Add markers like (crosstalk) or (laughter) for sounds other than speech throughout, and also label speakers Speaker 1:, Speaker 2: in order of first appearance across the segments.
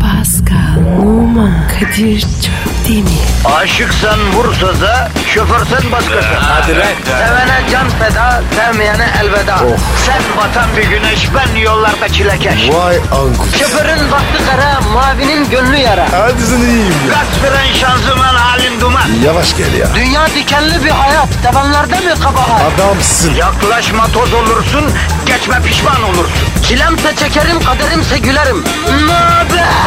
Speaker 1: Pascal, Oman, Kadir çok değil mi?
Speaker 2: Aşıksan vursa da, şoförsen başkasın. Hadi
Speaker 3: lan.
Speaker 2: Sevene can feda, sevmeyene elveda. Sen batan bir güneş, ben yollarda çilekeş.
Speaker 3: Vay anku.
Speaker 2: Şoförün baktı kara, mavinin gönlü yara.
Speaker 3: Hadi sen iyiyim ya.
Speaker 2: Kasperen şanzıman halin duman.
Speaker 3: Yavaş gel ya.
Speaker 2: Dünya dikenli bir hayat, sevenlerde mi kabahar?
Speaker 3: Adamsın.
Speaker 2: Yaklaşma toz olursun, geçme pişman olursun. Çilemse çekerim, kaderimse gülerim. Möber!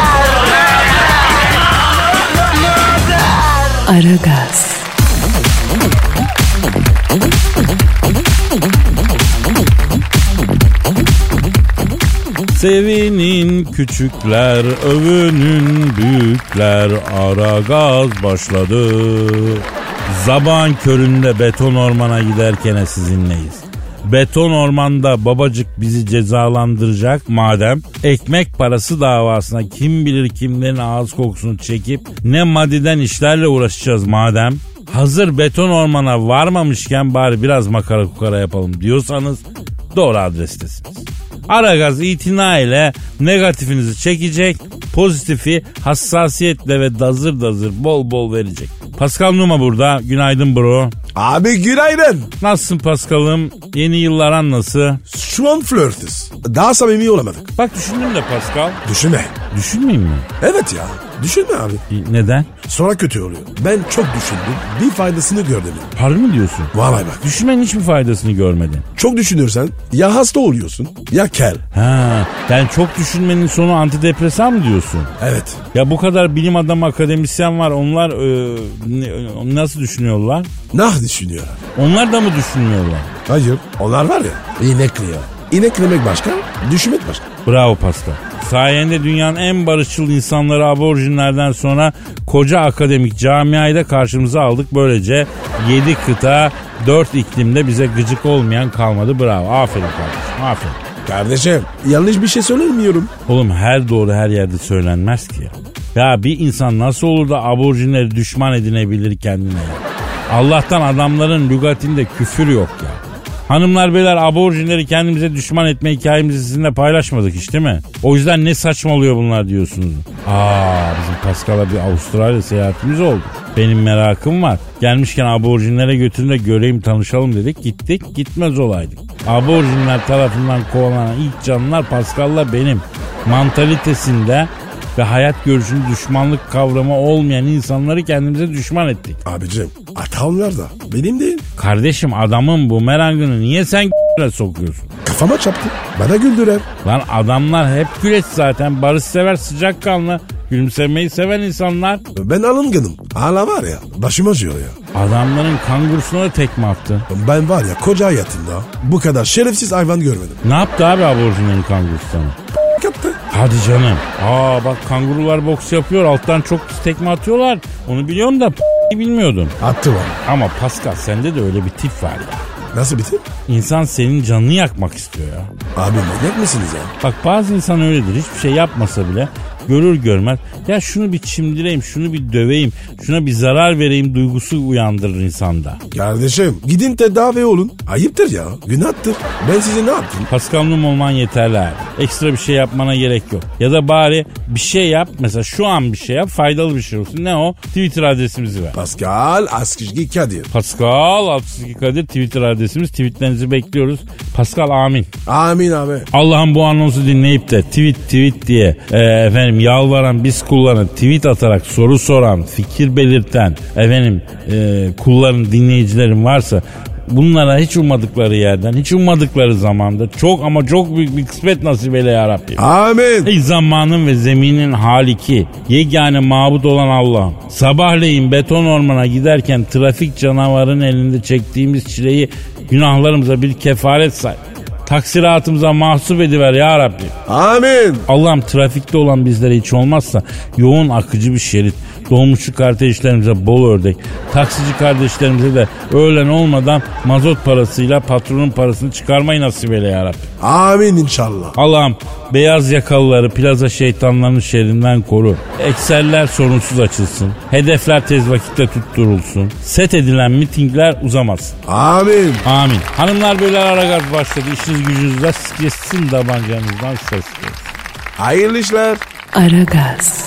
Speaker 1: Aragaz,
Speaker 4: Sevinin küçükler, övünün büyükler, ara gaz başladı. Zaban köründe beton ormana giderken sizinleyiz. Beton ormanda babacık bizi cezalandıracak madem ekmek parası davasına kim bilir kimlerin ağız kokusunu çekip ne madiden işlerle uğraşacağız madem. Hazır beton ormana varmamışken bari biraz makara kukara yapalım diyorsanız doğru adrestesiniz. Aragaz itina ile negatifinizi çekecek, pozitifi hassasiyetle ve dazır dazır bol bol verecek. Pascal Numa burada. Günaydın bro.
Speaker 3: Abi günaydın.
Speaker 4: Nasılsın Pascal'ım? Yeni yıllar nasıl?
Speaker 3: Şu an flörtüz. Daha samimi olamadık.
Speaker 4: Bak düşündüm de Pascal.
Speaker 3: Düşünme.
Speaker 4: Düşünmeyeyim mi?
Speaker 3: Evet ya. Düşünme abi.
Speaker 4: E, Neden?
Speaker 3: Sonra kötü oluyor. Ben çok düşündüm. Bir faydasını gördüm.
Speaker 4: Harbi mi diyorsun?
Speaker 3: Vallahi bak.
Speaker 4: Düşünmenin hiçbir faydasını görmedin.
Speaker 3: Çok düşünürsen ya hasta oluyorsun ya kel.
Speaker 4: Ha, ben çok düşünmenin sonu antidepresan mı diyorsun?
Speaker 3: Evet.
Speaker 4: Ya bu kadar bilim adamı akademisyen var onlar e, ne- nasıl düşünüyorlar?
Speaker 3: Nah düşünüyorlar.
Speaker 4: Onlar da mı düşünmüyorlar?
Speaker 3: Hayır. Onlar var ya. İnekliyor. İneklemek başka, düşünmek başka.
Speaker 4: Bravo Pascal. Sayende dünyanın en barışçıl insanları aborjinlerden sonra koca akademik camiayı da karşımıza aldık. Böylece 7 kıta 4 iklimde bize gıcık olmayan kalmadı. Bravo. Aferin kardeşim. Aferin.
Speaker 3: Kardeşim yanlış bir şey söylemiyorum.
Speaker 4: Oğlum her doğru her yerde söylenmez ki ya. Ya bir insan nasıl olur da aborjinleri düşman edinebilir kendine ya? Allah'tan adamların lügatinde küfür yok ya. Hanımlar beyler aborjinleri kendimize düşman etme hikayemizi sizinle paylaşmadık hiç değil mi? O yüzden ne saçma oluyor bunlar diyorsunuz. Aa bizim Pascal'a bir Avustralya seyahatimiz oldu. Benim merakım var. Gelmişken aborjinlere götürün de göreyim tanışalım dedik. Gittik gitmez olaydık. Aborjinler tarafından kovalanan ilk canlılar Pascal'la benim. Mantalitesinde ve hayat görüşünü düşmanlık kavramı olmayan insanları kendimize düşman ettik.
Speaker 3: Abicim hatam var da benim değil.
Speaker 4: Kardeşim adamın bu merangını niye sen sokuyorsun?
Speaker 3: Kafama çarptı. Bana güldürer.
Speaker 4: Lan adamlar hep güleç zaten. Barış sever sıcakkanlı. Gülümsemeyi seven insanlar.
Speaker 3: Ben alınganım. Hala var ya başım acıyor ya.
Speaker 4: Adamların kangurusuna da tekme attı.
Speaker 3: Ben var ya koca hayatımda bu kadar şerefsiz hayvan görmedim.
Speaker 4: Ne yaptı abi aborjinlerin kangurusuna?
Speaker 3: Kaptı.
Speaker 4: Hadi canım. Aa bak kangurular boks yapıyor. Alttan çok pis tekme atıyorlar. Onu biliyorum da bilmiyordum.
Speaker 3: Attı var.
Speaker 4: Ama Pascal sende de öyle bir tip var ya.
Speaker 3: Nasıl bitti? İnsan
Speaker 4: İnsan senin canını yakmak istiyor ya.
Speaker 3: Abi manyak mısınız ya?
Speaker 4: Bak bazı insan öyledir. Hiçbir şey yapmasa bile görür görmez ya şunu bir çimdireyim, şunu bir döveyim, şuna bir zarar vereyim duygusu uyandırır insanda.
Speaker 3: Kardeşim gidin tedavi olun. Ayıptır ya. Günahtır. Ben size ne yaptım?
Speaker 4: Paskanlım olman yeterli abi. Ekstra bir şey yapmana gerek yok. Ya da bari bir şey yap. Mesela şu an bir şey yap. Faydalı bir şey olsun. Ne o? Twitter adresimizi ver.
Speaker 3: Pascal Askışki Kadir.
Speaker 4: Pascal Altçizgi Kadir Twitter adresimiz. Tweetlerinizi bekliyoruz. Pascal amin.
Speaker 3: Amin abi.
Speaker 4: Allah'ın bu anonsu dinleyip de tweet tweet diye e, efendim yalvaran biz kullanan tweet atarak soru soran fikir belirten efendim e, kulların dinleyicilerim varsa bunlara hiç ummadıkları yerden hiç ummadıkları zamanda çok ama çok büyük bir kısmet nasip eyle yarabbim.
Speaker 3: Amin.
Speaker 4: Ey zamanın ve zeminin haliki, yegane mabut olan Allah'ım. Sabahleyin beton ormana giderken trafik canavarın elinde çektiğimiz çileyi günahlarımıza bir kefaret say. Taksiratımıza mahsup ediver ya Rabbi.
Speaker 3: Amin.
Speaker 4: Allah'ım trafikte olan bizlere hiç olmazsa yoğun akıcı bir şerit. Dolmuşçu kardeşlerimize bol ördek. Taksici kardeşlerimize de öğlen olmadan mazot parasıyla patronun parasını çıkarmayı nasip eyle ya Rabbi.
Speaker 3: Amin inşallah.
Speaker 4: Allah'ım beyaz yakalıları plaza şeytanlarının şerrinden koru. Ekseller sorunsuz açılsın. Hedefler tez vakitte tutturulsun. Set edilen mitingler uzamasın.
Speaker 3: Amin.
Speaker 4: Amin. Hanımlar beyler Aragaz başladı. İşiniz gücünüzden stressin tabancanızdan ses gelsin.
Speaker 3: Hayırlı işler.
Speaker 1: Aragaz,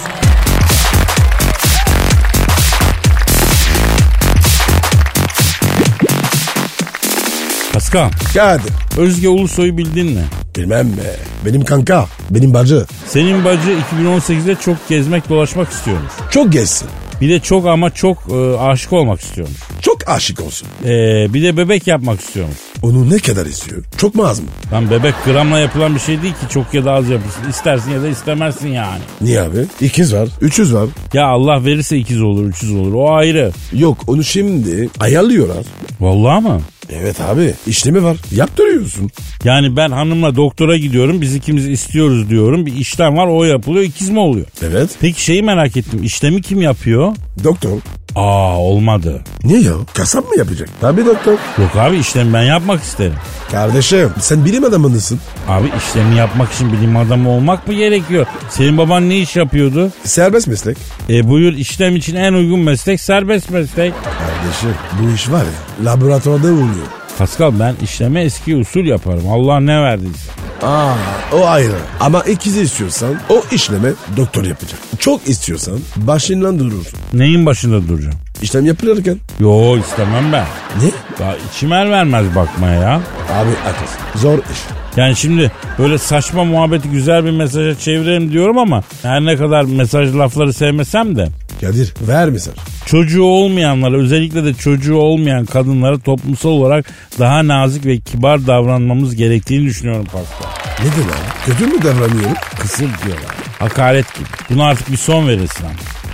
Speaker 4: Paskal,
Speaker 3: Kadir.
Speaker 4: Özge Ulusoy'u bildin mi?
Speaker 3: Bilmem be. Benim kanka. Benim bacı.
Speaker 4: Senin bacı 2018'de çok gezmek dolaşmak istiyormuş.
Speaker 3: Çok gezsin.
Speaker 4: Bir de çok ama çok e, aşık olmak istiyormuş.
Speaker 3: Çok aşık olsun.
Speaker 4: E, bir de bebek yapmak istiyormuş.
Speaker 3: Onu ne kadar istiyor? Çok mu az mı?
Speaker 4: Lan bebek gramla yapılan bir şey değil ki çok ya da az yapılsın. İstersin ya da istemezsin yani.
Speaker 3: Niye abi? İkiz var. Üçüz var.
Speaker 4: Ya Allah verirse ikiz olur, üçüz olur. O ayrı.
Speaker 3: Yok onu şimdi ayarlıyorlar.
Speaker 4: Vallahi mı?
Speaker 3: Evet abi işlemi var. Yaptırıyorsun.
Speaker 4: Yani ben hanımla doktora gidiyorum. Biz ikimiz istiyoruz diyorum. Bir işlem var o yapılıyor. ikiz mi oluyor?
Speaker 3: Evet.
Speaker 4: Peki şeyi merak ettim. İşlemi kim yapıyor?
Speaker 3: Doktor.
Speaker 4: Aa olmadı.
Speaker 3: Niye ya? Kasap mı yapacak? Tabii doktor.
Speaker 4: Yok abi işlemi ben yapmak isterim.
Speaker 3: Kardeşim sen bilim adamısın.
Speaker 4: Abi işlemi yapmak için bilim adamı olmak mı gerekiyor? Senin baban ne iş yapıyordu?
Speaker 3: Serbest meslek.
Speaker 4: E buyur işlem için en uygun meslek serbest meslek.
Speaker 3: Kardeşim bu iş var ya laboratuvarda oluyor.
Speaker 4: Pascal ben işleme eski usul yaparım. Allah ne verdiyse.
Speaker 3: Aa o ayrı. Ama ikizi istiyorsan o işlemi doktor yapacak. Çok istiyorsan başından durursun.
Speaker 4: Neyin başında duracağım?
Speaker 3: İşlem yapılırken.
Speaker 4: Yo istemem ben.
Speaker 3: Ne?
Speaker 4: Daha içim el vermez bakmaya ya.
Speaker 3: Abi haklısın. Zor iş.
Speaker 4: Yani şimdi böyle saçma muhabbeti güzel bir mesaja çevirelim diyorum ama her ne kadar mesaj lafları sevmesem de
Speaker 3: Kadir ver misal.
Speaker 4: çocuğu olmayanlara özellikle de çocuğu olmayan kadınlara toplumsal olarak daha nazik ve kibar davranmamız gerektiğini düşünüyorum Pascal.
Speaker 3: Ne de lan? Kötü mü davranıyorum?
Speaker 4: Kısır diyorlar. Hakaret gibi. Buna artık bir son verirsin. abi.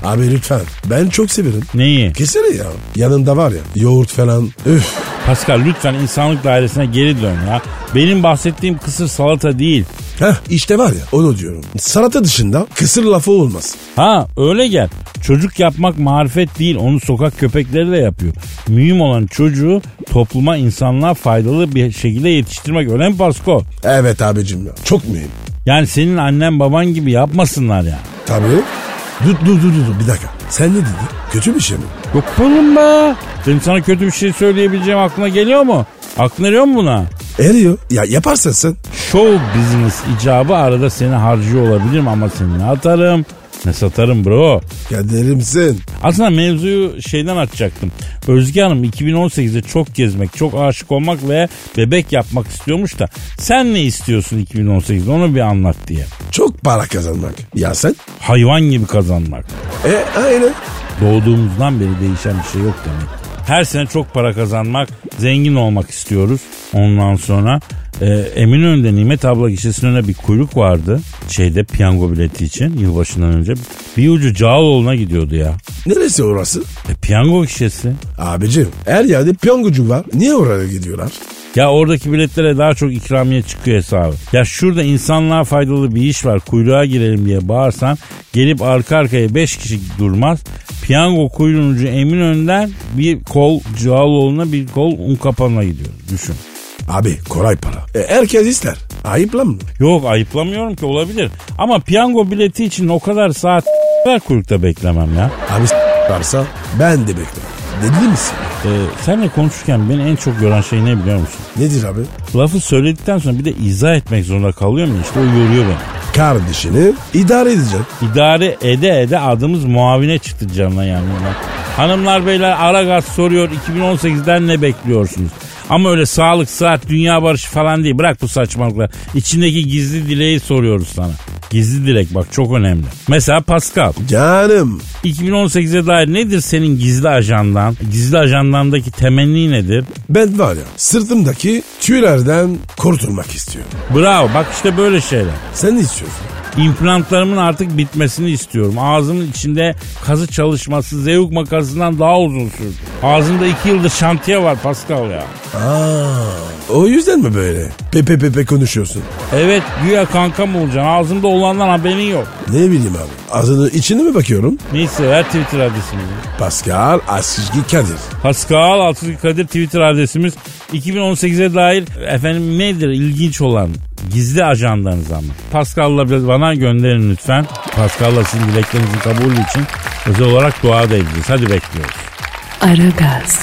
Speaker 3: Abi lütfen. Ben çok severim.
Speaker 4: Neyi?
Speaker 3: Kesene ya. Yanında var ya yoğurt falan. Üf.
Speaker 4: Pascal lütfen insanlık dairesine geri dön ya. Benim bahsettiğim kısır salata değil.
Speaker 3: Heh işte var ya onu diyorum. Salata dışında kısır lafı olmaz.
Speaker 4: Ha öyle gel. Çocuk yapmak marifet değil onu sokak köpekleri de yapıyor. Mühim olan çocuğu topluma insanlığa faydalı bir şekilde yetiştirmek öyle mi Pasko?
Speaker 3: Evet abicim ya. Çok mühim.
Speaker 4: Yani senin annen baban gibi yapmasınlar ya.
Speaker 3: Tabii. Dur dur dur dur bir dakika. Sen ne dedin? Kötü bir şey mi?
Speaker 4: Yok oğlum be. Benim sana kötü bir şey söyleyebileceğim aklına geliyor mu? Aklına geliyor mu buna?
Speaker 3: Eriyor. Ya yaparsan sen.
Speaker 4: Show business icabı arada seni harcıyor olabilirim ama seni ne atarım ne satarım bro.
Speaker 3: Kaderimsin.
Speaker 4: Aslında mevzuyu şeyden açacaktım. Özge Hanım 2018'de çok gezmek, çok aşık olmak ve bebek yapmak istiyormuş da sen ne istiyorsun 2018'de onu bir anlat diye.
Speaker 3: Çok para kazanmak. Ya sen?
Speaker 4: Hayvan gibi kazanmak.
Speaker 3: E aynen.
Speaker 4: Doğduğumuzdan beri değişen bir şey yok demek. Her sene çok para kazanmak, zengin olmak istiyoruz. Ondan sonra e, Eminönü'nde Nimet abla gişesinin önüne bir kuyruk vardı. Şeyde piyango bileti için yılbaşından önce. Bir ucu Cağaloğlu'na gidiyordu ya.
Speaker 3: Neresi orası?
Speaker 4: E, piyango gişesi.
Speaker 3: Abicim her yerde piyangocu var. Niye oraya gidiyorlar?
Speaker 4: Ya oradaki biletlere daha çok ikramiye çıkıyor hesabı. Ya şurada insanlığa faydalı bir iş var kuyruğa girelim diye bağırsan gelip arka arkaya 5 kişi durmaz. Piyango kuyruğuncu Emin Önder bir kol Cağaloğlu'na bir kol un kapanına gidiyor. Düşün.
Speaker 3: Abi kolay para. E, herkes ister. Ayıp lan mı?
Speaker 4: Yok ayıplamıyorum ki olabilir. Ama piyango bileti için o kadar saat kadar kuyrukta beklemem ya.
Speaker 3: Abi s- varsa Hani ben de beklerim. Dedi misin?
Speaker 4: Ee, senle konuşurken beni en çok gören şey ne biliyor musun?
Speaker 3: Nedir abi?
Speaker 4: Lafı söyledikten sonra bir de izah etmek zorunda kalıyorum ya işte o yoruyor beni.
Speaker 3: Kardeşini idare edecek.
Speaker 4: İdare ede ede adımız muavine çıktı canına yani. Hanımlar beyler Aragaz soruyor 2018'den ne bekliyorsunuz? Ama öyle sağlık, sıhhat, dünya barışı falan değil. Bırak bu saçmalıkları. İçindeki gizli dileği soruyoruz sana. Gizli dilek bak çok önemli. Mesela Pascal
Speaker 3: Canım.
Speaker 4: 2018'e dair nedir senin gizli ajandan? Gizli ajandandaki temenni nedir?
Speaker 3: Ben var ya sırtımdaki tüylerden kurtulmak istiyorum.
Speaker 4: Bravo bak işte böyle şeyler.
Speaker 3: Sen ne istiyorsun?
Speaker 4: İmplantlarımın artık bitmesini istiyorum. Ağzımın içinde kazı çalışması zevk makasından daha uzun sürdü. Ağzımda iki yıldır şantiye var Pascal ya.
Speaker 3: Aa, o yüzden mi böyle? Pepe pepe konuşuyorsun.
Speaker 4: Evet güya kankam olacaksın. Ağzımda olandan haberin yok.
Speaker 3: Ne bileyim abi. Ağzının içine mi bakıyorum?
Speaker 4: Neyse ver Twitter adresimizi.
Speaker 3: Pascal Askizgi Kadir.
Speaker 4: Pascal Altın Kadir Twitter adresimiz 2018'e dair efendim nedir ilginç olan gizli ajandanız ama. Pascal'la biraz bana gönderin lütfen. Pascal'la sizin dileklerinizin kabulü için özel olarak dua da edeceğiz. Hadi bekliyoruz.
Speaker 1: Aragaz,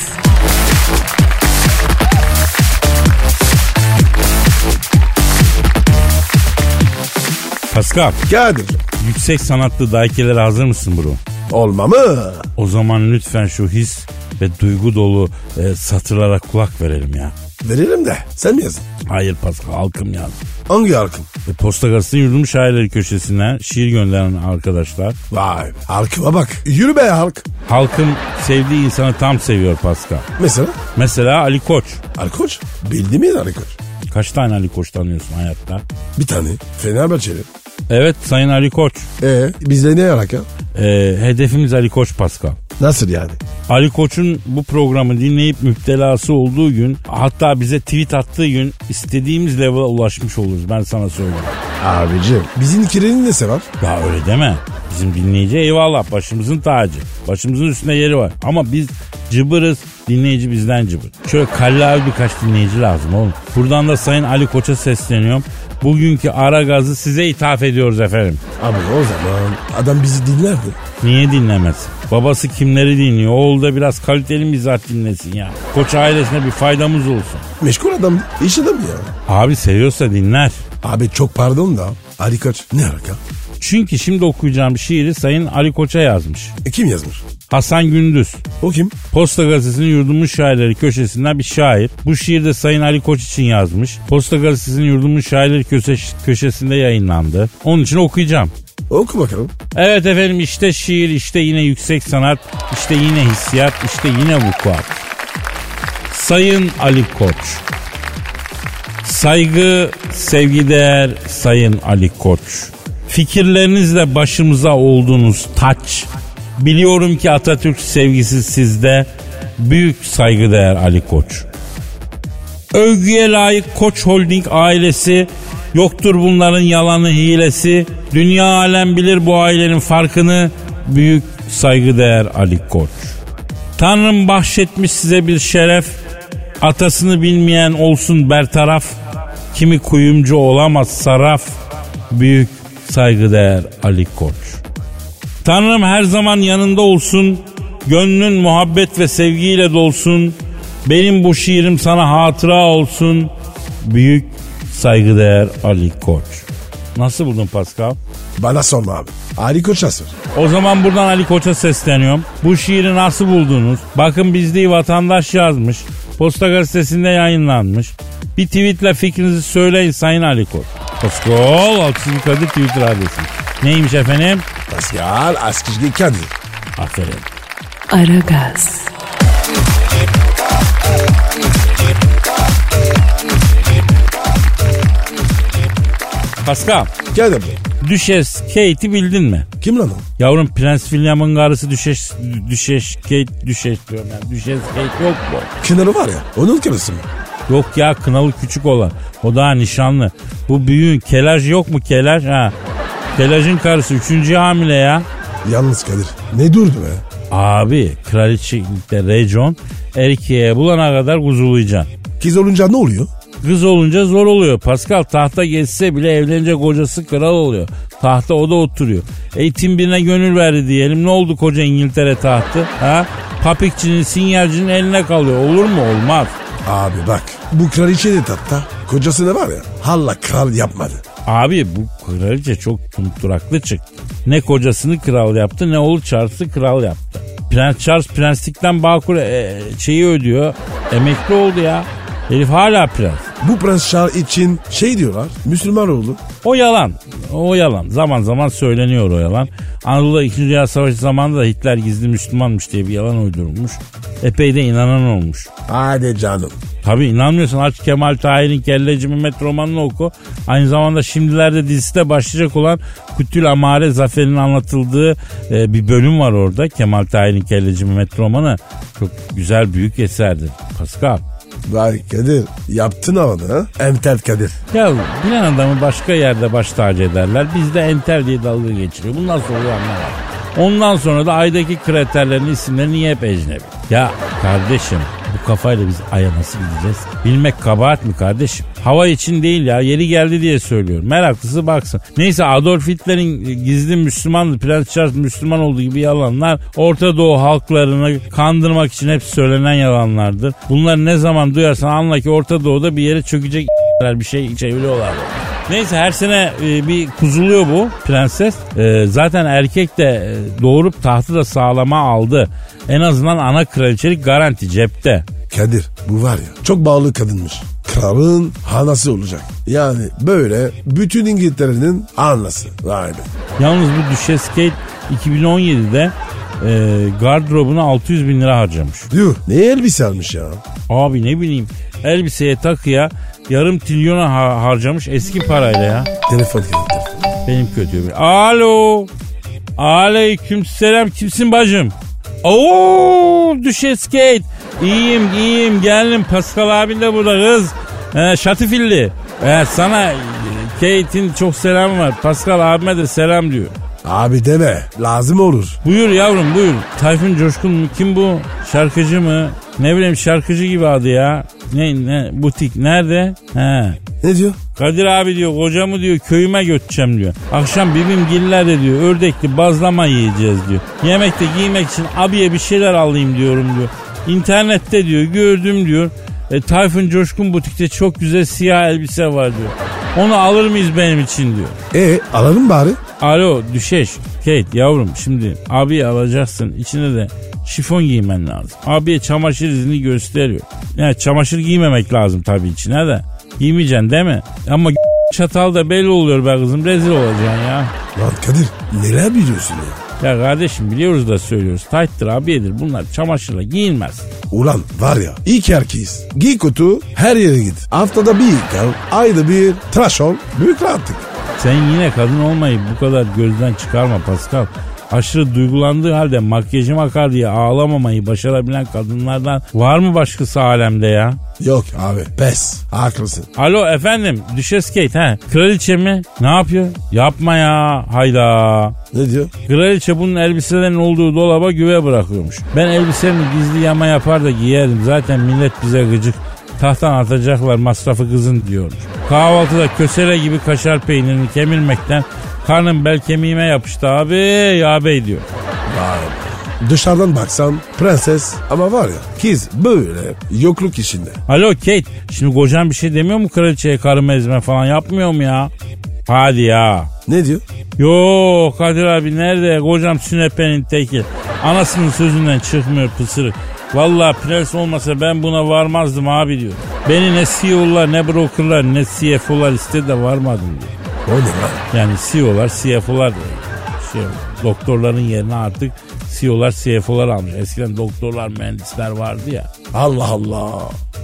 Speaker 4: Pascal
Speaker 3: Kadir.
Speaker 4: yüksek sanatlı daikelere hazır mısın bro?
Speaker 3: Olma mı?
Speaker 4: O zaman lütfen şu his ve duygu dolu e, satırlara kulak verelim ya.
Speaker 3: Verelim de. Sen mi yazdın?
Speaker 4: Hayır Pascal halkım yazdı.
Speaker 3: Hangi halkın?
Speaker 4: E, Posta gazetesinin yurdum şairleri köşesinden şiir gönderen arkadaşlar.
Speaker 3: Vay halkıma bak. Yürü be halk.
Speaker 4: Halkım sevdiği insanı tam seviyor Pascal.
Speaker 3: Mesela
Speaker 4: Mesela Ali Koç.
Speaker 3: Ali Koç. Bildi miyiz Ali Koç?
Speaker 4: Kaç tane Ali Koç tanıyorsun hayatta?
Speaker 3: Bir tane. Fenerbahçeli.
Speaker 4: Evet Sayın Ali Koç.
Speaker 3: Ee bizde ne alaka?
Speaker 4: E, hedefimiz Ali Koç Pascal.
Speaker 3: Nasıl yani?
Speaker 4: Ali Koç'un bu programı dinleyip müptelası olduğu gün hatta bize tweet attığı gün istediğimiz level'a ulaşmış oluruz ben sana söyleyeyim.
Speaker 3: Abicim. Bizimkilerin nesi var?
Speaker 4: Ya öyle deme. Bizim dinleyici eyvallah başımızın tacı. Başımızın üstünde yeri var. Ama biz cıbırız. Dinleyici bizden cıbır. Şöyle kallavi birkaç dinleyici lazım oğlum. Buradan da Sayın Ali Koç'a sesleniyorum. Bugünkü ara gazı size ithaf ediyoruz efendim.
Speaker 3: Abi o zaman adam bizi dinlerdi.
Speaker 4: Niye dinlemez? Babası kimleri dinliyor? Oğlu da biraz kaliteli mizah dinlesin ya. Koç ailesine bir faydamız olsun.
Speaker 3: Meşgul adam. iş adamı ya.
Speaker 4: Abi seviyorsa dinler.
Speaker 3: Abi çok pardon da Ali Koç ne alaka?
Speaker 4: Çünkü şimdi okuyacağım şiiri Sayın Ali Koç'a yazmış.
Speaker 3: E, kim yazmış?
Speaker 4: Hasan Gündüz.
Speaker 3: O kim?
Speaker 4: Posta Gazetesi'nin yurdumun şairleri köşesinden bir şair. Bu şiir de Sayın Ali Koç için yazmış. Posta Gazetesi'nin yurdumun şairleri köşe- köşesinde yayınlandı. Onun için okuyacağım.
Speaker 3: Oku bakalım.
Speaker 4: Evet efendim işte şiir, işte yine yüksek sanat, işte yine hissiyat, işte yine vukuat. Sayın Ali Koç. Saygı, sevgideğer Sayın Ali Koç. Fikirlerinizle başımıza olduğunuz taç. Biliyorum ki Atatürk sevgisi sizde. Büyük saygıdeğer Ali Koç. Övgüye layık Koç Holding ailesi yoktur bunların yalanı hilesi. Dünya alem bilir bu ailenin farkını. Büyük saygıdeğer Ali Koç. Tanrım bahşetmiş size bir şeref. Atasını bilmeyen olsun bertaraf. Kimi kuyumcu olamaz saraf. Büyük saygıdeğer Ali Koç. Tanrım her zaman yanında olsun. Gönlün muhabbet ve sevgiyle dolsun. Benim bu şiirim sana hatıra olsun. Büyük saygıdeğer Ali Koç. Nasıl buldun Pascal?
Speaker 3: Bana sorma abi. Ali Koç yazmış.
Speaker 4: O zaman buradan Ali Koç'a sesleniyorum. Bu şiiri nasıl buldunuz? Bakın biz değil vatandaş yazmış. Posta gazetesinde yayınlanmış. Bir tweetle fikrinizi söyleyin Sayın Ali Koç. Pascal Altçizgi Kadir Twitter adresi. Neymiş efendim?
Speaker 3: Pascal Askizgi Kadir.
Speaker 4: Aferin.
Speaker 1: Aragaz,
Speaker 4: Pascal.
Speaker 3: Kadir Bey.
Speaker 4: Düşes Kate'i bildin mi?
Speaker 3: Kim lan o?
Speaker 4: Yavrum Prens William'ın karısı Düşes, Düşes Kate, Düşes diyorum ben. Düşes Kate yok mu?
Speaker 3: Kenarı var ya. Onun karısı mı?
Speaker 4: Yok ya kınalı küçük olan. O daha nişanlı. Bu büyüğün kelaj yok mu kelaj? Ha. Kelajın karısı üçüncü hamile ya.
Speaker 3: Yalnız Kadir. Ne durdu be?
Speaker 4: Abi kraliçelikte Rejon erkeğe bulana kadar kuzulayacaksın.
Speaker 3: Kız olunca ne oluyor?
Speaker 4: Kız olunca zor oluyor. Pascal tahta geçse bile evlenecek kocası kral oluyor. Tahta o da oturuyor. Eğitim birine gönül verdi diyelim. Ne oldu koca İngiltere tahtı? Ha? Papikçinin, sinyalcinin eline kalıyor. Olur mu? Olmaz.
Speaker 3: Abi bak. Bu kraliçe de tatta. Kocasına var ya. Halla kral yapmadı.
Speaker 4: Abi bu kraliçe çok tumturaklı çıktı. Ne kocasını kral yaptı ne oğlu Charles'ı kral yaptı. Prens Charles prenslikten Bağkur e, şeyi ödüyor. Emekli oldu ya. Herif hala prens.
Speaker 3: Bu prens Charles için şey diyorlar. Müslüman oğlu.
Speaker 4: O yalan. O yalan. Zaman zaman söyleniyor o yalan. Anadolu'da 2. Dünya Savaşı zamanında da Hitler gizli Müslümanmış diye bir yalan uydurulmuş. Epey de inanan olmuş.
Speaker 3: Hadi canım.
Speaker 4: Tabi inanmıyorsan aç Kemal Tahir'in Kelleci Mehmet romanını oku. Aynı zamanda şimdilerde dizide başlayacak olan Kutül Amare Zafer'in anlatıldığı e, bir bölüm var orada. Kemal Tahir'in Kelleci Mehmet romanı çok güzel büyük eserdir. Pascal.
Speaker 3: Vay Kadir. Yaptın havalı ha. Emtel Kadir.
Speaker 4: Ya bilen adamı başka yerde baş tacı ederler. Bizde entel diye dalga geçiriyor. Bundan sonra anlamam. Ondan sonra da aydaki kraterlerin isimleri niye hep ecnebi? Ya kardeşim bu kafayla biz aya nasıl gideceğiz? Bilmek kabahat mi kardeşim? Hava için değil ya yeri geldi diye söylüyorum. Meraklısı baksın. Neyse Adolf Hitler'in gizli Müslüman, Prens Charles Müslüman olduğu gibi yalanlar Orta Doğu halklarını kandırmak için hep söylenen yalanlardır. Bunları ne zaman duyarsan anla ki Orta Doğu'da bir yere çökecek bir şey çeviriyorlar. Neyse her sene e, bir kuzuluyor bu prenses. E, zaten erkek de e, doğurup tahtı da sağlama aldı. En azından ana kraliçelik garanti cepte.
Speaker 3: Kadir bu var ya çok bağlı kadınmış. Kralın hanası olacak. Yani böyle bütün İngiltere'nin hanası. Vay be.
Speaker 4: Yalnız bu Düşes Kate 2017'de e, gardırobuna 600 bin lira harcamış.
Speaker 3: Yuh ne elbise almış ya.
Speaker 4: Abi ne bileyim elbiseye takıya yarım trilyona ha- harcamış eski parayla ya.
Speaker 3: Telefon geldi. telefon.
Speaker 4: Benim kötü bir. Alo. Aleyküm selam. Kimsin bacım? Oo Düşes Kate. İyiyim iyiyim geldim. Pascal abin de burada kız. Ee, Şatifilli. Ee, sana e, Kate'in çok selam var. Pascal abime de selam diyor.
Speaker 3: Abi deme lazım olur.
Speaker 4: Buyur yavrum buyur. Tayfun Coşkun mu? Kim bu? Şarkıcı mı? Ne bileyim şarkıcı gibi adı ya. Ne ne butik nerede? He.
Speaker 3: Ne diyor?
Speaker 4: Kadir abi diyor kocamı diyor köyüme götüreceğim diyor. Akşam bibim gillerde diyor ördekli bazlama yiyeceğiz diyor. Yemekte giymek için abiye bir şeyler alayım diyorum diyor. İnternette diyor gördüm diyor. E, Tayfun Coşkun butikte çok güzel siyah elbise var diyor. Onu alır mıyız benim için diyor.
Speaker 3: E alalım bari.
Speaker 4: Alo düşeş. Kate yavrum şimdi abiyi alacaksın. İçine de şifon giymen lazım. Abiye çamaşır izini gösteriyor. Yani çamaşır giymemek lazım tabii içine de. Giymeyeceksin değil mi? Ama çatal da belli oluyor be kızım. Rezil olacaksın ya.
Speaker 3: Lan Kadir neler biliyorsun ya.
Speaker 4: Ya kardeşim biliyoruz da söylüyoruz. Tayttır abiyedir bunlar çamaşırla giyilmez.
Speaker 3: Ulan var ya iyi ki erkeğiz. Giy kutu her yere git. Haftada bir yıkan, ayda bir tıraş ol. Büyük rahatlık.
Speaker 4: Sen yine kadın olmayı bu kadar gözden çıkarma Pascal. Aşırı duygulandığı halde makyajım akar diye ağlamamayı başarabilen kadınlardan var mı başkası alemde ya?
Speaker 3: Yok abi pes haklısın.
Speaker 4: Alo efendim Düşes Kate he. Kraliçe mi? Ne yapıyor? Yapma ya. Hayda.
Speaker 3: Ne diyor?
Speaker 4: Kraliçe bunun elbiselerin olduğu dolaba güve bırakıyormuş. Ben elbisemi gizli yama yapar da giyerdim. Zaten millet bize gıcık. Tahttan atacaklar masrafı kızın diyormuş. Kahvaltıda kösele gibi kaşar peynirini kemirmekten karnım bel kemiğime yapıştı abi ya bey diyor.
Speaker 3: Dışarıdan baksan prenses ama var ya kız böyle yokluk içinde.
Speaker 4: Alo Kate şimdi kocan bir şey demiyor mu kraliçeye karım ezme falan yapmıyor mu ya? Hadi ya.
Speaker 3: Ne diyor?
Speaker 4: Yo Kadir abi nerede? Kocam sünepenin teki. Anasının sözünden çıkmıyor pısırık. Valla prens olmasa ben buna varmazdım abi diyor. Beni ne CEO'lar ne brokerlar ne CFO'lar istedi de varmadım diyor.
Speaker 3: O ne lan?
Speaker 4: Yani E CEO'lar CFO'lar diyor. Şey, doktorların yerine artık E CEO'lar CFO'lar almış. Eskiden doktorlar mühendisler vardı ya.
Speaker 3: Allah Allah.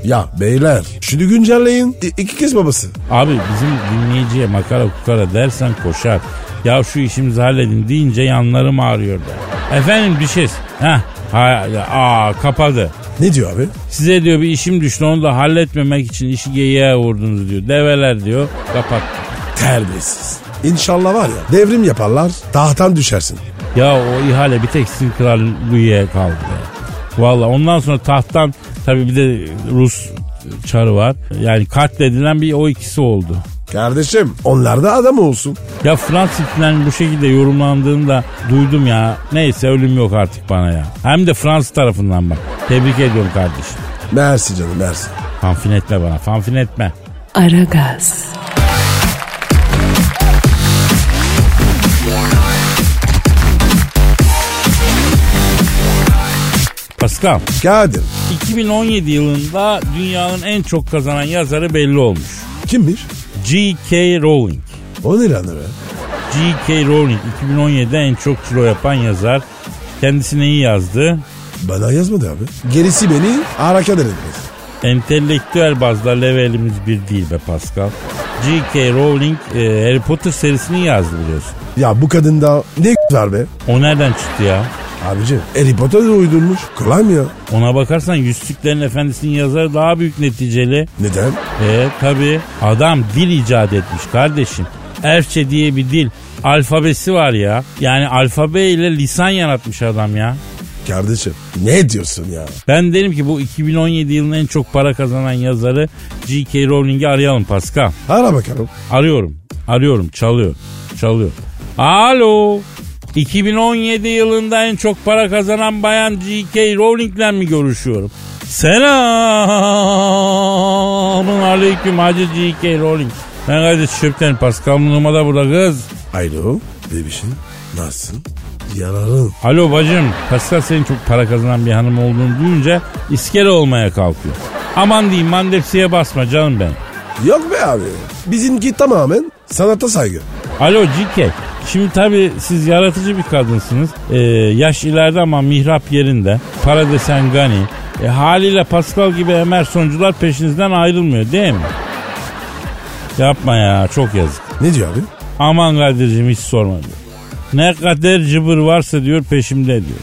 Speaker 3: Ya beyler şunu güncelleyin. İ- iki kız babası.
Speaker 4: Abi bizim dinleyiciye makara kukara dersen koşar. Ya şu işimizi halledin deyince yanlarım ağrıyor der. Efendim düşes. Heh. Ha, ya, aa kapadı.
Speaker 3: Ne diyor abi?
Speaker 4: Size diyor bir işim düştü onu da halletmemek için işi geyiğe vurdunuz diyor. Develer diyor kapattı.
Speaker 3: Terbiyesiz. İnşallah var ya devrim yaparlar tahttan düşersin.
Speaker 4: Ya o ihale bir tek sizin kraliyeye kaldı. Be. Valla ondan sonra tahttan tabii bir de Rus çarı var. Yani katledilen bir o ikisi oldu.
Speaker 3: Kardeşim onlar da adam olsun.
Speaker 4: Ya Fransız filan bu şekilde yorumlandığını da duydum ya. Neyse ölüm yok artık bana ya. Hem de Fransız tarafından bak. Tebrik ediyorum kardeşim.
Speaker 3: Mersi canım mersi.
Speaker 4: Fanfin etme bana fanfin etme.
Speaker 1: Aragaz,
Speaker 4: Pascal
Speaker 3: Kadir
Speaker 4: 2017 yılında dünyanın en çok kazanan yazarı belli olmuş.
Speaker 3: kimmiş?
Speaker 4: G.K. Rowling.
Speaker 3: O ne lan öyle?
Speaker 4: G.K. Rowling 2017'de en çok kilo yapan yazar. Kendisi neyi yazdı?
Speaker 3: Bana yazmadı abi. Gerisi beni hareket etmez.
Speaker 4: Entelektüel bazda levelimiz bir değil be Pascal. G.K. Rowling e, Harry Potter serisini yazdı biliyorsun.
Speaker 3: Ya bu kadında ne (laughs) var be?
Speaker 4: O nereden çıktı ya?
Speaker 3: Abicim Harry Potter uydurmuş. Kolay mı ya?
Speaker 4: Ona bakarsan Yüzüklerin Efendisi'nin yazarı daha büyük neticeli.
Speaker 3: Neden?
Speaker 4: E tabi adam dil icat etmiş kardeşim. Erçe diye bir dil. Alfabesi var ya. Yani alfabe ile lisan yaratmış adam ya.
Speaker 3: Kardeşim ne diyorsun ya?
Speaker 4: Ben derim ki bu 2017 yılının en çok para kazanan yazarı G.K. Rowling'i arayalım Pascal.
Speaker 3: Ara bakalım.
Speaker 4: Arıyorum. Arıyorum. Çalıyor. Çalıyor. Alo. 2017 yılında en çok para kazanan bayan G.K. Rowling'le mi görüşüyorum? Selamun aleyküm Hacı G.K. Rowling. Ben kardeş çöpten Pascal Numa da burada kız.
Speaker 3: Alo bebişim nasılsın? Yararın.
Speaker 4: Alo bacım Pascal senin çok para kazanan bir hanım olduğunu duyunca iskele olmaya kalkıyor. Aman diyeyim mandepsiye basma canım ben.
Speaker 3: Yok be abi. Bizimki tamamen sanata saygı.
Speaker 4: Alo Cike. Şimdi tabii siz yaratıcı bir kadınsınız. Ee, yaş ileride ama mihrap yerinde. Para desen gani. E, haliyle Pascal gibi Emersoncular peşinizden ayrılmıyor değil mi? Yapma ya çok yazık.
Speaker 3: Ne diyor abi?
Speaker 4: Aman Kadir'cim hiç sorma diyor. Ne kadar cıbır varsa diyor peşimde diyor.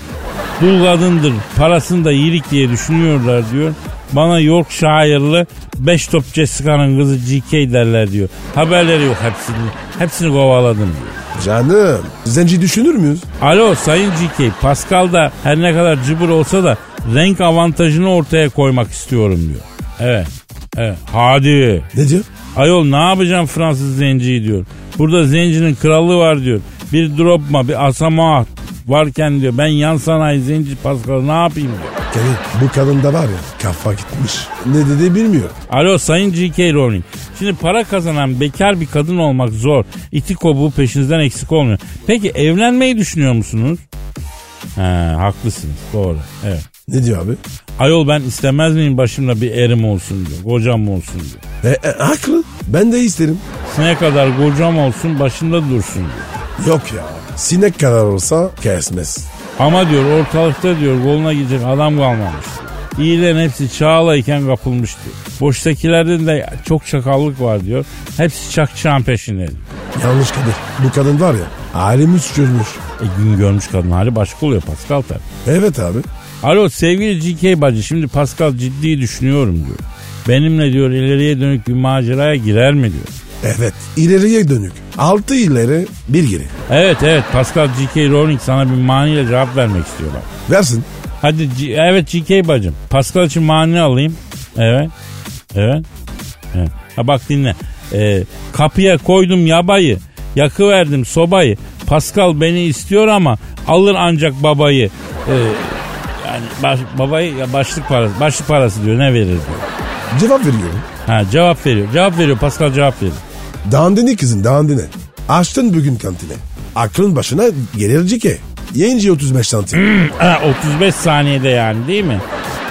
Speaker 4: Dul kadındır parasını da iyilik diye düşünüyorlar diyor. Bana Yorkshire'lı 5 top Jessica'nın kızı GK derler diyor. Haberleri yok hepsini. Hepsini kovaladım diyor.
Speaker 3: Canım zenci düşünür müyüz?
Speaker 4: Alo Sayın GK Pascal da her ne kadar cıbır olsa da renk avantajını ortaya koymak istiyorum diyor. Evet. Evet. Hadi.
Speaker 3: Ne diyor?
Speaker 4: Ayol ne yapacağım Fransız zenciyi diyor. Burada zencinin krallığı var diyor. Bir dropma bir asama varken diyor ben yan sanayi zenci Pascal ne yapayım diyor.
Speaker 3: Kadir bu kadın da var ya kafa gitmiş. Ne dediği bilmiyor.
Speaker 4: Alo Sayın G.K. Rowling. Şimdi para kazanan bekar bir kadın olmak zor. İti kobuğu peşinizden eksik olmuyor. Peki evlenmeyi düşünüyor musunuz? He, haklısınız doğru evet.
Speaker 3: Ne diyor abi?
Speaker 4: Ayol ben istemez miyim başımda bir erim olsun diyor. Kocam olsun diyor.
Speaker 3: E, e, haklı. Ben de isterim.
Speaker 4: Ne kadar kocam olsun başında dursun diyor.
Speaker 3: Yok ya. Sinek kadar olsa kesmez.
Speaker 4: Ama diyor ortalıkta diyor koluna gidecek adam kalmamış. İyilerin hepsi çağlayken kapılmış diyor. Boştakilerden de çok çakallık var diyor. Hepsi çakçağın peşinde diyor.
Speaker 3: Yanlış Kadir. Bu kadın var ya alemi çürmüş.
Speaker 4: E gün görmüş kadın hali başka oluyor Pascal tabii.
Speaker 3: Evet abi.
Speaker 4: Alo sevgili GK bacı şimdi Pascal ciddi düşünüyorum diyor. Benimle diyor ileriye dönük bir maceraya girer mi diyor.
Speaker 3: Evet. ileriye dönük. Altı ileri bir geri.
Speaker 4: Evet evet Pascal G.K. Rowling sana bir maniyle cevap vermek istiyor bak.
Speaker 3: Versin.
Speaker 4: Hadi G- evet GK bacım. Pascal için mani alayım. Evet. Evet. evet. Ha bak dinle. Ee, kapıya koydum yabayı. Yakıverdim sobayı. Pascal beni istiyor ama alır ancak babayı. Ee, yani baş- babayı ya başlık parası, başlık parası diyor ne verir diyor.
Speaker 3: Cevap veriyorum.
Speaker 4: Ha cevap veriyor. Cevap veriyor Pascal cevap veriyor.
Speaker 3: Dandini kızım dandini. Açtın bugün kantine. Aklın başına gelirci ki. Yayıncı 35 santim.
Speaker 4: Ha, 35 saniyede yani değil mi?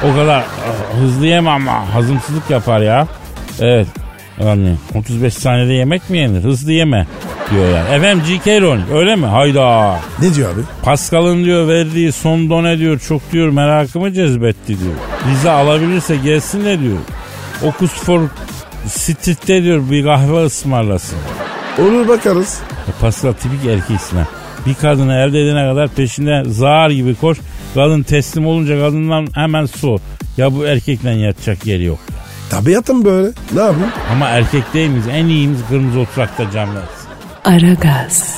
Speaker 4: O kadar e, hızlı yeme ama hazımsızlık yapar ya. Evet. Yani 35 saniyede yemek mi yenir? Hızlı yeme diyor yani. Efendim G.K. Rowling öyle mi? Hayda.
Speaker 3: ne diyor abi?
Speaker 4: Pascal'ın diyor verdiği son done diyor çok diyor merakımı cezbetti diyor. Vize alabilirse gelsin de diyor. Oxford Street'te diyor bir kahve ısmarlasın.
Speaker 3: Olur bakarız.
Speaker 4: E, Pascal tipik erkeksin ha. Bir kadını elde edene kadar peşinde zar gibi koş. Kadın teslim olunca kadından hemen su. Ya bu erkekle yatacak yeri yok.
Speaker 3: Tabiatım böyle. Ne yapayım?
Speaker 4: Ama erkek değil miyiz? En iyimiz kırmızı oturakta can versin.
Speaker 1: Aragaz,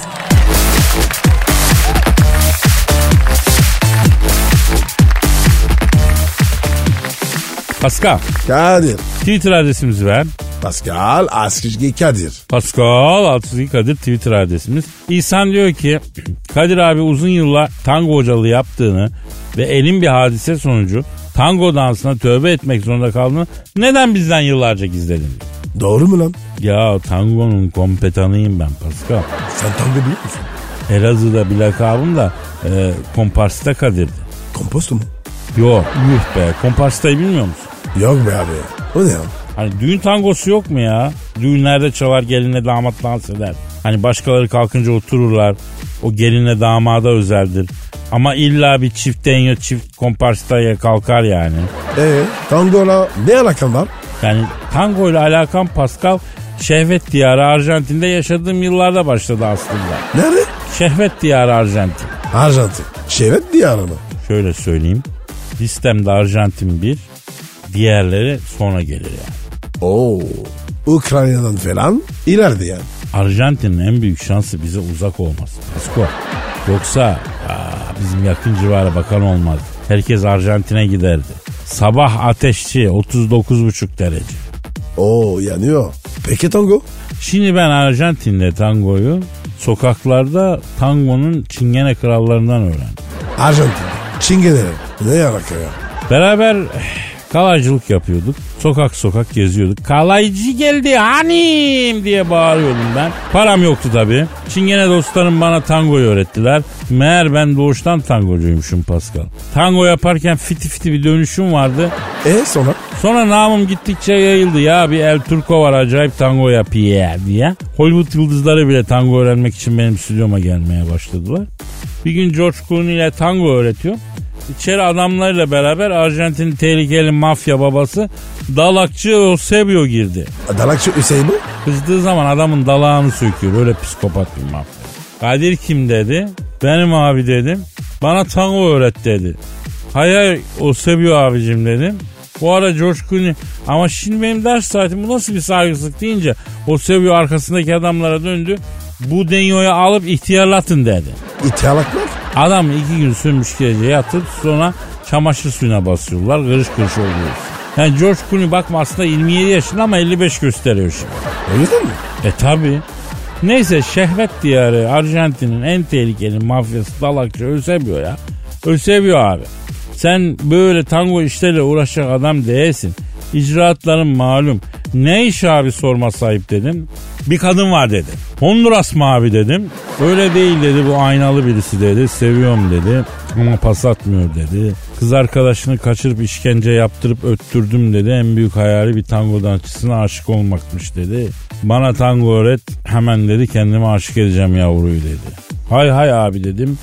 Speaker 4: Pascal,
Speaker 3: Kadir.
Speaker 4: Twitter adresimizi ver.
Speaker 3: Pascal Askizgi Kadir.
Speaker 4: Pascal Altçizgi Kadir Twitter adresimiz. İhsan diyor ki (clears throat) Kadir abi uzun yıllar tango hocalığı yaptığını ve elin bir hadise sonucu tango dansına tövbe etmek zorunda kaldığını neden bizden yıllarca gizledin? diyor.
Speaker 3: Doğru mu lan?
Speaker 4: Ya tangonun kompetanıyım ben Pascal.
Speaker 3: Sen tango biliyor musun?
Speaker 4: Elazığ'da bir lakabım da e, komparsta Kadir'di.
Speaker 3: Komposto mu?
Speaker 4: Yok yuh be komparstayı bilmiyor musun?
Speaker 3: Yok be abi. O ne ya?
Speaker 4: Hani düğün tangosu yok mu ya? Düğünlerde çalar gelinle damat dans eder. Hani başkaları kalkınca otururlar. O gelinle damada özeldir. Ama illa bir çift deniyor çift komparstaya kalkar yani.
Speaker 3: Ee, tangola ne alakan var?
Speaker 4: Yani tango ile alakam Pascal şehvet diyarı Arjantin'de yaşadığım yıllarda başladı aslında.
Speaker 3: Nerede?
Speaker 4: Şehvet diyarı Arjantin.
Speaker 3: Arjantin. Şevet diyarı mı?
Speaker 4: Şöyle söyleyeyim. Listemde Arjantin bir, diğerleri sonra gelir yani.
Speaker 3: Oo. Ukrayna'dan falan ileride yani.
Speaker 4: Arjantin'in en büyük şansı bize uzak olması. Pasko. Yoksa aa, bizim yakın civara bakan olmaz. Herkes Arjantin'e giderdi. Sabah ateşçi 39,5 derece.
Speaker 3: Oo yanıyor. Peki tango?
Speaker 4: Şimdi ben Arjantin'de tangoyu Sokaklarda tangonun çingene krallarından öğrendi.
Speaker 3: Arjantin'de. Çingeneler. Ne alaka ya?
Speaker 4: Beraber eh, kalaycılık yapıyorduk. Sokak sokak geziyorduk. Kalaycı geldi hanim diye bağırıyordum ben. Param yoktu tabii. Çingene dostlarım bana tangoyu öğrettiler. Meğer ben doğuştan tangocuymuşum Pascal. Tango yaparken fiti fiti bir dönüşüm vardı.
Speaker 3: E sonra?
Speaker 4: Sonra namım gittikçe yayıldı ya bir El Turco var acayip tango yapıyor diye. Hollywood yıldızları bile tango öğrenmek için benim stüdyoma gelmeye başladılar. Bir gün George Clooney ile tango öğretiyor. İçeri adamlarıyla beraber Arjantin tehlikeli mafya babası dalakçı Eusebio girdi.
Speaker 3: Dalakçı Hüseyin mi?
Speaker 4: Kızdığı zaman adamın dalağını söküyor. Öyle psikopat bir mafya. Kadir kim dedi? Benim abi dedim. Bana tango öğret dedi. Hay hay o seviyor abicim dedim. Bu ara coşkun ama şimdi benim ders saatim bu nasıl bir saygısızlık deyince o seviyor arkasındaki adamlara döndü. Bu denyoyu alıp ihtiyarlatın dedi.
Speaker 3: İtiyalaklar.
Speaker 4: Adam iki gün sürmüş gece yatıp sonra çamaşır suyuna basıyorlar. Kırış kırış oluyor. Yani George Clooney bakma aslında 27 yaşında ama 55 gösteriyor şimdi.
Speaker 3: O yüzden mi?
Speaker 4: E tabi. Neyse şehvet diyarı Arjantin'in en tehlikeli mafyası dalakçı Ösebiyor ya. Ösebiyor abi. Sen böyle tango işleriyle uğraşacak adam değilsin. İcraatların malum. Ne iş abi sorma sahip dedim. Bir kadın var dedi. Honduras mı abi dedim. Öyle değil dedi bu aynalı birisi dedi. Seviyorum dedi. Ama pas atmıyor dedi. Kız arkadaşını kaçırıp işkence yaptırıp öttürdüm dedi. En büyük hayali bir tango dansçısına aşık olmakmış dedi. Bana tango öğret hemen dedi kendime aşık edeceğim yavruyu dedi. Hay hay abi dedim.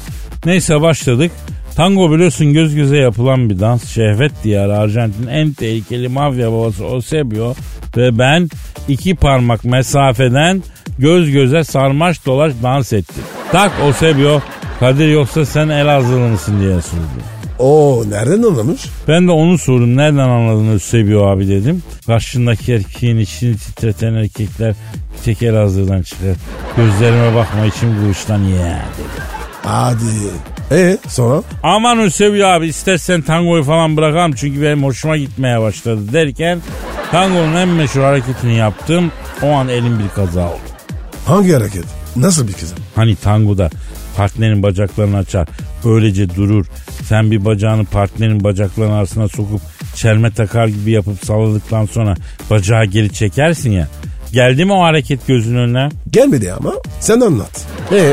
Speaker 4: Neyse başladık. Tango biliyorsun göz göze yapılan bir dans. Şehvet diyarı Arjantin en tehlikeli mafya babası Osebio ve ben iki parmak mesafeden göz göze sarmaş dolaş dans ettik. Tak Osebio Kadir yoksa sen Elazığlı mısın diye sordu.
Speaker 3: Oo nereden anlamış?
Speaker 4: Ben de onu sordum. Nereden anladın Ösebiyo abi dedim. Karşındaki erkeğin içini titreten erkekler bir tek Elazığ'dan çıkar. Gözlerime bakma içim kılıçtan ye dedi.
Speaker 3: Hadi. E sonra?
Speaker 4: Aman Ösebiyo abi istersen tangoyu falan bırakalım çünkü benim hoşuma gitmeye başladı derken tangonun en meşhur hareketini yaptım. O an elim bir kaza oldu.
Speaker 3: Hangi hareket? Nasıl bir kızım?
Speaker 4: Hani tangoda partnerin bacaklarını açar. Böylece durur. Sen bir bacağını partnerin bacaklarının arasına sokup çelme takar gibi yapıp salladıktan sonra bacağı geri çekersin ya. Geldi mi o hareket gözünün önüne?
Speaker 3: Gelmedi ama sen anlat. E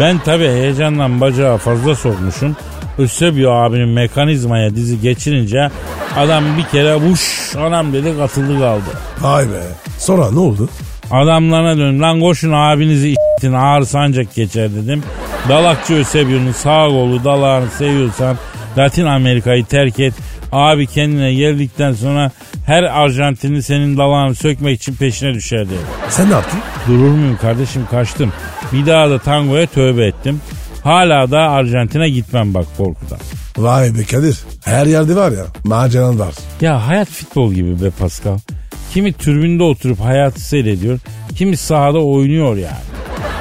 Speaker 4: Ben tabii heyecandan bacağı fazla sokmuşum. Ösebio abinin mekanizmaya dizi geçirince adam bir kere vuş anam dedi katıldı kaldı.
Speaker 3: Vay be. Sonra ne oldu?
Speaker 4: Adamlarına dönüp lan koşun abinizi ittin ağır sancak geçer dedim. Dalakçı Ösebio'nun sağ kolu dalağını seviyorsan Latin Amerika'yı terk et. Abi kendine geldikten sonra her Arjantinli senin dalağını sökmek için peşine düşer dedi.
Speaker 3: Sen ne yaptın?
Speaker 4: Durur muyum kardeşim kaçtım. Bir daha da tangoya tövbe ettim. Hala da Arjantin'e gitmem bak korkudan.
Speaker 3: Vay be Kadir. Her yerde var ya maceran var.
Speaker 4: Ya hayat futbol gibi be Pascal. Kimi tribünde oturup hayatı seyrediyor, kimi sahada oynuyor yani.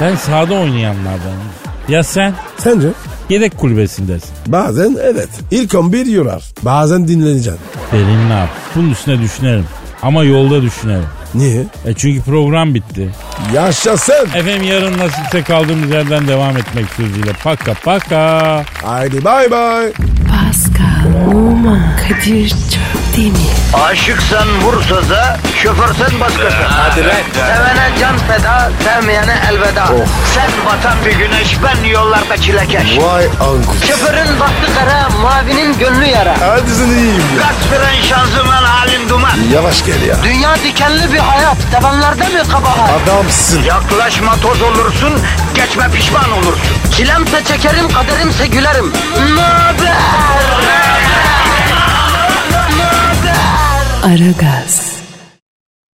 Speaker 4: Ben sahada oynayanlardanım. Ya sen
Speaker 3: Sence?
Speaker 4: yedek kulübesindesin.
Speaker 3: Bazen evet. İlk 11 yorar. Bazen dinleneceksin.
Speaker 4: Derin ne yap? Bunun üstüne düşünelim. Ama yolda düşünelim.
Speaker 3: Niye?
Speaker 4: E çünkü program bitti.
Speaker 3: Yaşasın.
Speaker 4: Efendim yarın nasipse kaldığımız yerden devam etmek sözüyle. Paka paka.
Speaker 3: Haydi bay bay.
Speaker 1: Pascal, Oman, Kadir çok değil mi?
Speaker 2: Aşıksan vursa da, şoförsen başkasın. Hadi Sevene can feda, sevmeyene elveda. Sen batan bir güneş, ben yollarda çilekeş.
Speaker 3: Vay anku.
Speaker 2: Şoförün baktı kara, mavinin gönlü yara.
Speaker 3: Hadi sen iyiyim ya.
Speaker 2: Kasperen şanzıman halin duman.
Speaker 3: Yavaş gel ya.
Speaker 2: Dünya dikenli bir hayat, sevenlerde mi kabahar?
Speaker 3: Adamsın.
Speaker 2: Yaklaşma toz olursun, geçme pişman olursun. Çilemse çekerim, kaderimse gülerim. Möber!
Speaker 1: Aragaz.